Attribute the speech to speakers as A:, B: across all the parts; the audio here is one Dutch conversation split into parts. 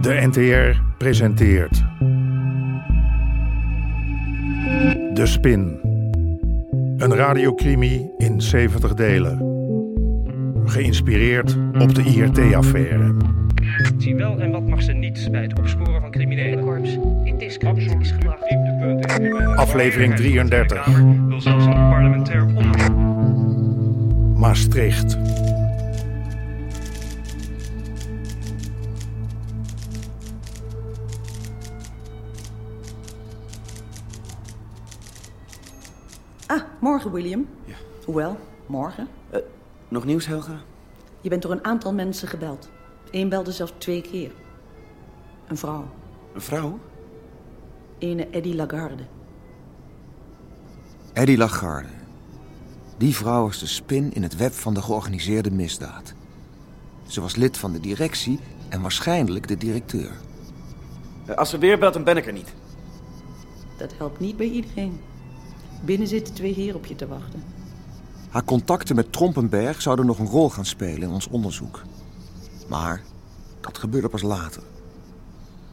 A: De NTR presenteert. De Spin. Een radiocrimi in 70 delen. Geïnspireerd op de IRT-affaire.
B: Wat Zie wel en wat mag ze niet bij het opsporen van criminelen.
C: Corps in discrediet is gebracht.
A: Aflevering 33.
B: De Kamer wil zelfs een parlementair onderzoek.
A: Maastricht.
D: Ah, morgen, William. Hoewel, morgen.
E: Nog nieuws, Helga?
D: Je bent door een aantal mensen gebeld. Eén belde zelfs twee keer. Een vrouw.
E: Een vrouw?
D: Ene Eddie Lagarde.
E: Eddie Lagarde. Die vrouw is de spin in het web van de georganiseerde misdaad. Ze was lid van de directie en waarschijnlijk de directeur.
F: Eh, Als ze weer belt, dan ben ik er niet.
D: Dat helpt niet bij iedereen. Binnen zitten twee heren op je te wachten.
E: Haar contacten met Trompenberg zouden nog een rol gaan spelen in ons onderzoek. Maar dat gebeurde pas later.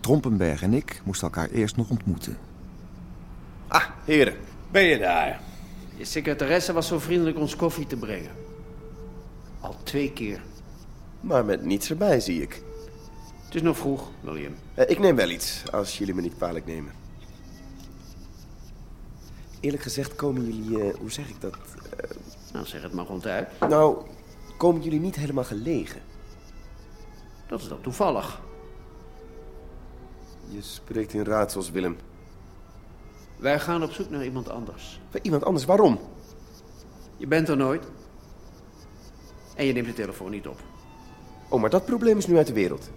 E: Trompenberg en ik moesten elkaar eerst nog ontmoeten.
F: Ah, heren.
G: Ben je daar?
H: Je secretaresse was zo vriendelijk ons koffie te brengen. Al twee keer.
G: Maar met niets erbij, zie ik.
H: Het is nog vroeg, William.
G: Eh, Ik neem wel iets, als jullie me niet kwalijk nemen. Eerlijk gezegd komen jullie, eh, hoe zeg ik dat?
H: Nou, zeg het maar ronduit.
G: Nou, komen jullie niet helemaal gelegen.
H: Dat is dan toevallig.
G: Je spreekt in raadsels, Willem.
H: Wij gaan op zoek naar iemand anders.
G: Bij iemand anders, waarom?
H: Je bent er nooit. En je neemt de telefoon niet op.
G: Oh, maar dat probleem is nu uit de wereld.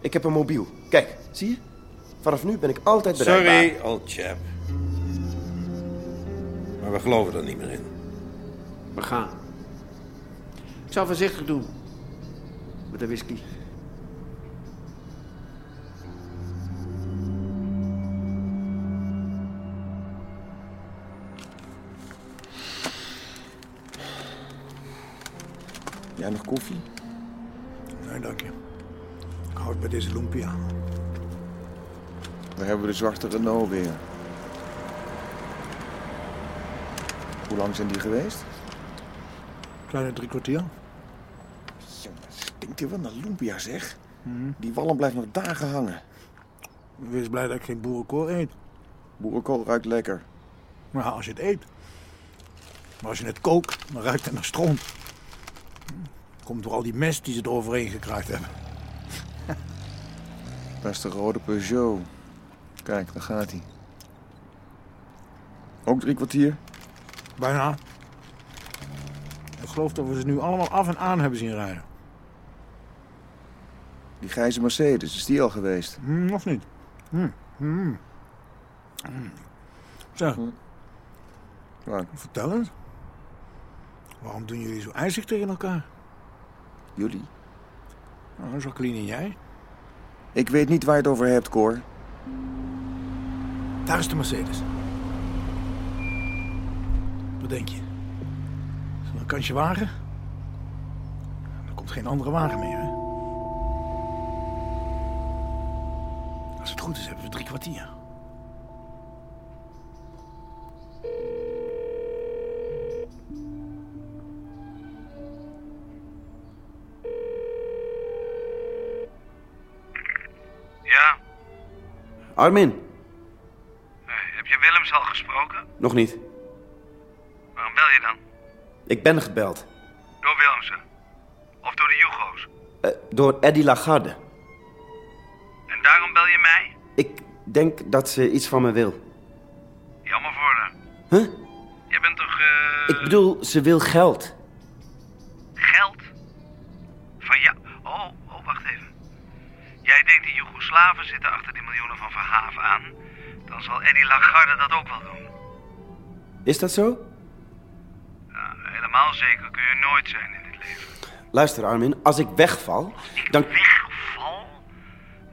G: Ik heb een mobiel. Kijk, zie je? Vanaf nu ben ik altijd bereikbaar.
I: Sorry, old chap. Maar we geloven er niet meer in.
H: We gaan. Ik zou voorzichtig doen. Met de whisky.
E: Jij nog koffie?
A: Nee, dank je. Ik hou het bij deze lumpia.
E: We hebben de zwarte Renault weer. Hoe lang zijn die geweest?
A: Kleine drie kwartier.
E: Jongen, stinkt hier wel naar lumpia, zeg. Die wallen blijft nog dagen hangen.
A: Hmm. Wees blij dat ik geen boerenkool eet.
E: Boerenkool ruikt lekker.
A: Maar als je het eet. Maar als je het kookt, dan ruikt het naar stront. Hm, Komt door al die mest die ze eroverheen gekraakt hebben.
E: Dat is de rode Peugeot. Kijk, daar gaat hij. Ook drie kwartier?
A: Bijna. Ik geloof dat we ze nu allemaal af en aan hebben zien rijden.
E: Die grijze Mercedes, is die al geweest?
A: Hm, nog niet. Hm, hm. Hm. Zeg,
E: Waar?
A: vertel eens. Waarom doen jullie zo ijzig tegen elkaar?
E: Jullie?
A: Nou, Jacqueline en jij?
E: Ik weet niet waar je het over hebt, Cor.
A: Daar is de Mercedes. Wat denk je? Zullen we een kansje wagen? Er komt geen andere wagen meer, hè? Als het goed is, hebben we drie kwartier.
B: Ja,
F: Armin,
B: heb je Willems al gesproken?
F: nog niet.
B: Waarom bel je dan?
F: Ik ben gebeld.
B: Door Willemsen. Of door de Jugo's.
F: Eh, door Eddie Lagarde.
B: En daarom bel je mij?
F: Ik denk dat ze iets van me wil.
B: Jammer voor haar.
F: Huh?
B: Jij bent toch eh,
F: Ik bedoel, ze wil geld.
B: geld? Van jou? Oh, oh, wacht even. Jij denkt die Joegoslaven zitten achter die miljoenen van Verhaaf aan. Dan zal Eddie Lagarde dat ook wel doen.
F: Is dat zo?
B: Ja, helemaal zeker kun je nooit zijn in dit leven.
F: Luister, Armin, als ik wegval, dan...
B: Wegval?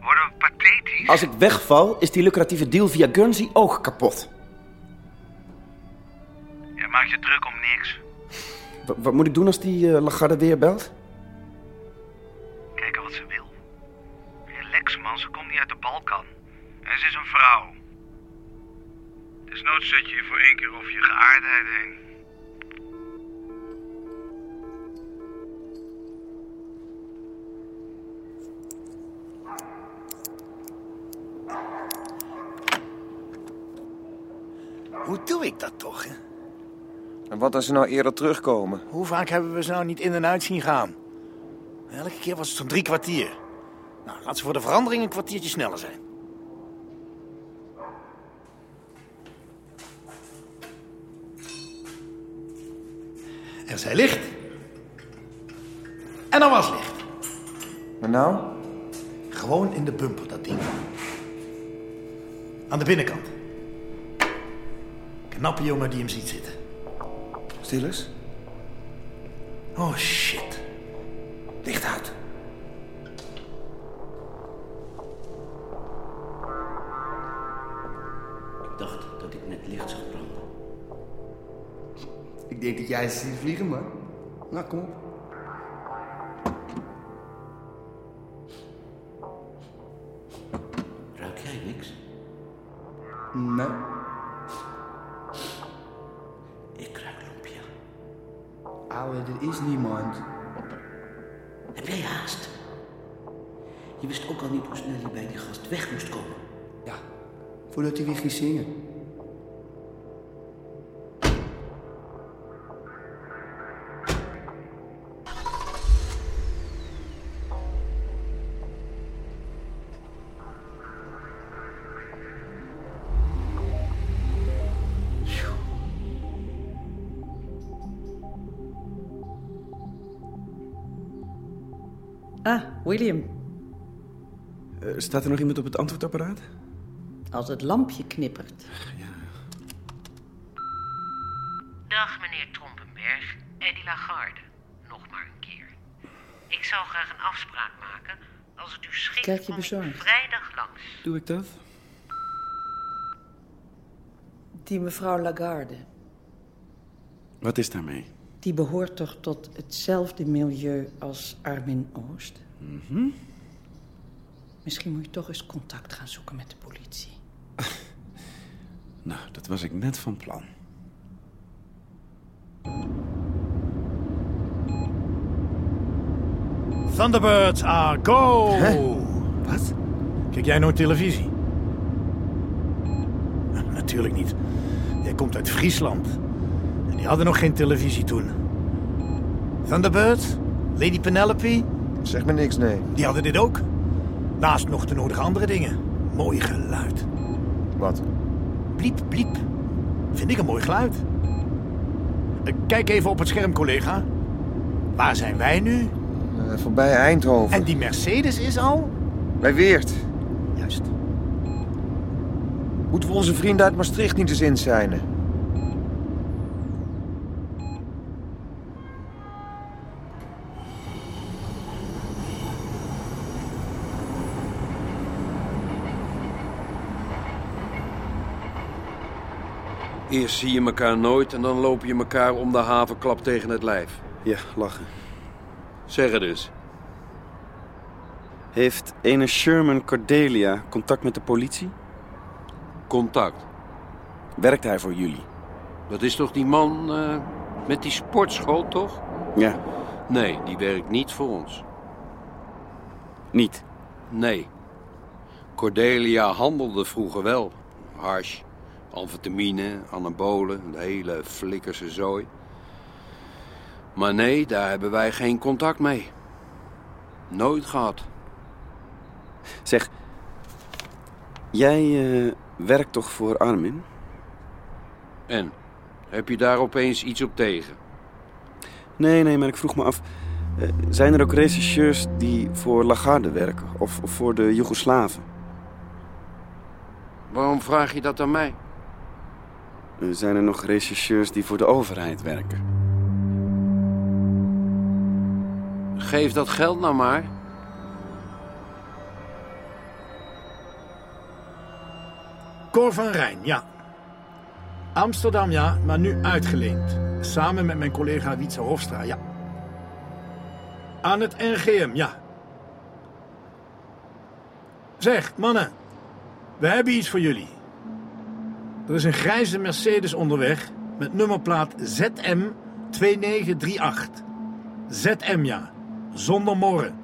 B: Worden we pathetisch?
F: Als ik wegval, is die lucratieve deal via Guernsey ook kapot.
B: Jij maakt je druk om niks.
F: Wa- wat moet ik doen als die eh, Lagarde weer belt?
B: Kijken wat ze wil. Relax man, ze komt niet
J: is een vrouw. Desnoods zet je je voor één keer over je geaardheid heen.
G: Hoe doe ik dat toch? hè?
K: En wat als ze nou eerder terugkomen?
G: Hoe vaak hebben we ze nou niet in en uit zien gaan? Elke keer was het zo'n drie kwartier. Nou, laat ze voor de verandering een kwartiertje sneller zijn.
L: Er zij licht. En er was licht.
K: Maar nou?
L: Gewoon in de bumper, dat ding. Aan de binnenkant. Knappe jongen die hem ziet zitten.
K: Stil eens.
L: Oh shit. Licht uit.
H: Ik dacht dat ik net licht zou branden.
M: Ik denk dat jij eens ziet vliegen, man. Nou, kom op.
H: Ruik jij niks?
M: Nee.
H: Ik ruik loempia.
M: Ouwe, er is niemand.
H: Heb jij haast? Je wist ook al niet hoe snel je bij die gast weg moest komen.
M: Ja, voordat hij weer ging zingen.
D: Ah, William.
F: staat er nog iemand op het antwoordapparaat?
D: Als het lampje knippert.
B: Dag meneer Trompenberg, Eddie Lagarde. Nog maar een keer. Ik zou graag een afspraak maken. Als het u schikt,
D: Kijk je
B: kom ik
D: bezorgd.
B: vrijdag langs.
F: Doe ik dat?
D: Die mevrouw Lagarde,
F: Wat is daarmee?
D: die behoort toch tot hetzelfde milieu als Armin Oost? Misschien moet je toch eens contact gaan zoeken met de politie.
F: Nou, dat was ik net van plan.
G: Thunderbirds are go!
F: Wat?
G: Kijk jij nooit televisie? Natuurlijk niet. Jij komt uit Friesland. En die hadden nog geen televisie toen. Thunderbirds, Lady Penelope,
K: Zeg me niks, nee.
G: die hadden dit ook. Naast nog de nodige andere dingen. Mooi geluid.
K: Wat?
G: Bliep, bliep. Vind ik een mooi geluid. Eh, Kijk even op het scherm, collega. Waar zijn wij nu?
K: Eh, voorbij Eindhoven.
G: En die Mercedes is al?
K: Bij Weert.
G: Juist.
K: Moeten we onze vrienden uit Maastricht niet eens inzijnen?
E: Eerst zie je elkaar nooit en dan loop je elkaar om de havenklap tegen het lijf.
F: Ja, lachen.
E: Zeg het eens.
F: Heeft ene Sherman Cordelia contact met de politie?
E: Contact.
F: Werkt hij voor jullie?
E: Dat is toch die man eh, met die sportschool, toch?
F: Ja.
E: Nee, die werkt niet voor ons.
F: Niet?
E: Nee. Cordelia handelde vroeger wel. Hash, amfetamine, anabolen, de hele flikkerse zooi. Maar nee, daar hebben wij geen contact mee. Nooit gehad.
F: Zeg, jij eh, werkt toch voor Armin?
E: En? Heb je daar opeens iets op tegen?
F: Nee, nee, maar ik vroeg me af... eh, zijn er ook rechercheurs die voor Lagarde werken? Of, of voor de Joegoslaven?
E: Waarom vraag je dat aan mij?
F: Eh, zijn er nog rechercheurs die voor de overheid werken?
E: Geef dat geld nou maar.
G: Cor van Rijn, ja. Amsterdam, ja, maar nu uitgeleend. Samen met mijn collega Wietse Hofstra, ja. Aan het NGM, ja. Zeg, mannen.
E: We hebben iets voor jullie. Er is een grijze Mercedes onderweg met nummerplaat ZM 2938. ZM ja, zonder morren.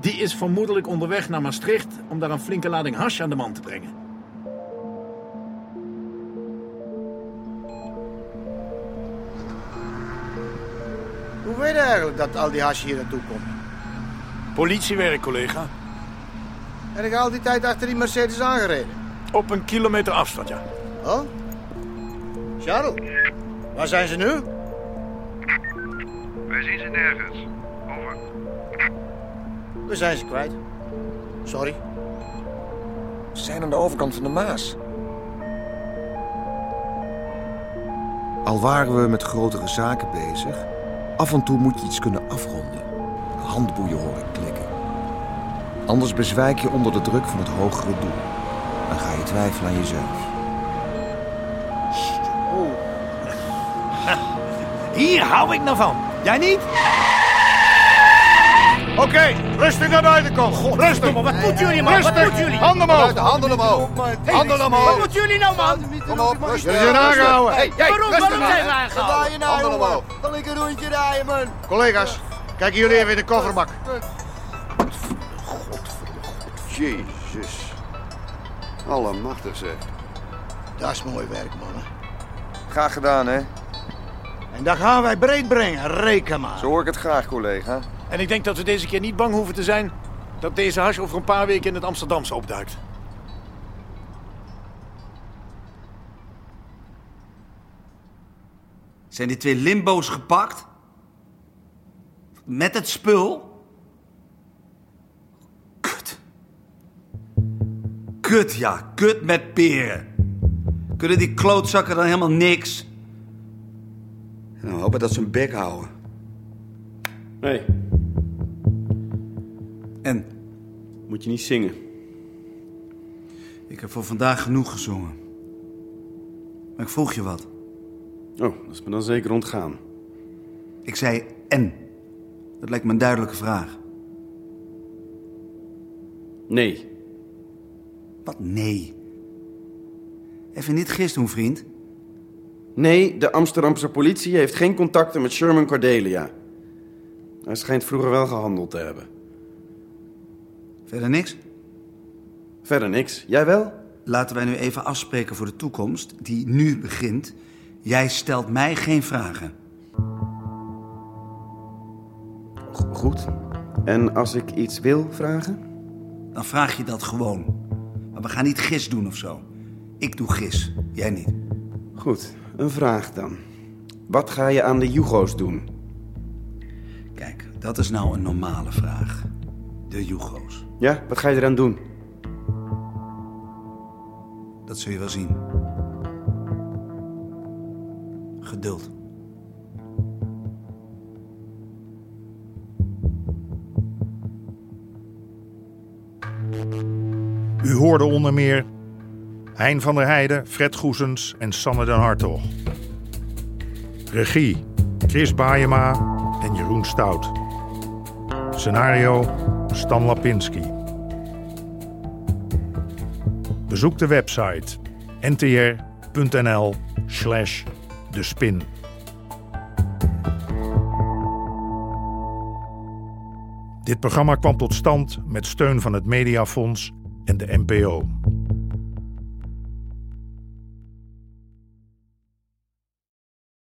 E: Die is vermoedelijk onderweg naar Maastricht om daar een flinke lading hash aan de man te brengen.
N: Hoe weet je eigenlijk dat al die hash hier naartoe komt?
E: Politiewerk, collega.
N: En ik al die tijd achter die Mercedes aangereden.
E: Op een kilometer afstand, ja.
N: Oh? Charles, waar zijn ze nu?
C: Wij zien ze nergens. Over.
N: We zijn ze kwijt. Sorry.
G: Ze zijn aan de overkant van de Maas. Al waren we met grotere zaken bezig, af en toe moet je iets kunnen afronden. Handboeien horen klikken. Anders bezwijk je onder de druk van het hogere doel. Dan ga je twijfelen aan jezelf.
O: Hier hou ik nou van. Jij niet?
N: Oké, rustig naar buiten komen. rustig.
O: maar, wat moeten jullie, man? Wat
N: Rustig.
O: moeten jullie?
N: Handen omhoog.
O: Buiten, handen
N: omhoog. Handen omhoog.
O: Wat moeten jullie nou, man?
N: Kom op, rustig.
O: Jullie zijn aangehouden.
N: nou, Hey, hey,
O: Waarom?
N: rustig
O: Waarom
N: nou,
O: zijn we
N: hè.
O: aangehouden?
N: Wat wou je
O: Handen
N: nou, jongen?
O: omhoog.
N: Wil ik een rondje rijden, man. Collega's, kijken jullie even in de kofferbak.
I: Jezus. Allemachtig zeg.
N: Dat is mooi werk, mannen.
G: Graag gedaan, hè?
N: En dat gaan wij breed brengen, reken maar.
G: Zo hoor ik het graag, collega.
E: En ik denk dat we deze keer niet bang hoeven te zijn dat deze hash over een paar weken in het Amsterdamse opduikt.
B: Zijn die twee limbo's gepakt? Met het spul? Kut. Kut, ja. Kut met peren. Kunnen die klootzakken dan helemaal niks? Nou, hopen dat ze hun bek houden.
F: Nee.
B: En?
F: Moet je niet zingen.
B: Ik heb voor vandaag genoeg gezongen. Maar ik vroeg je wat.
F: Oh, dat is me dan zeker ontgaan.
B: Ik zei en. Dat lijkt me een duidelijke vraag.
F: Nee.
B: Wat nee? Even niet gist doen, vriend.
F: Nee, de Amsterdamse politie heeft geen contacten met Sherman Cordelia. Hij schijnt vroeger wel gehandeld te hebben.
B: Verder niks?
F: Verder niks. Jij wel?
B: Laten wij nu even afspreken voor de toekomst, die nu begint. Jij stelt mij geen vragen.
F: Goed. En als ik iets wil vragen?
B: Dan vraag je dat gewoon. Maar we gaan niet gis doen of zo. Ik doe gis, jij niet.
F: Goed, een vraag dan. Wat ga je aan de Jugo's doen?
B: Kijk, dat is nou een normale vraag. De Jugo's.
F: Ja, wat ga je eraan doen?
B: Dat zul je wel zien. Geduld.
A: U hoorde onder meer Hein van der Heijden, Fred Goesens en Sanne den Hartog. Regie Chris Baayema en Jeroen Stout. Scenario Stan Lapinski. Bezoek de website ntr.nl slash de spin. Dit programma kwam tot stand met steun van het Mediafonds en de NPO.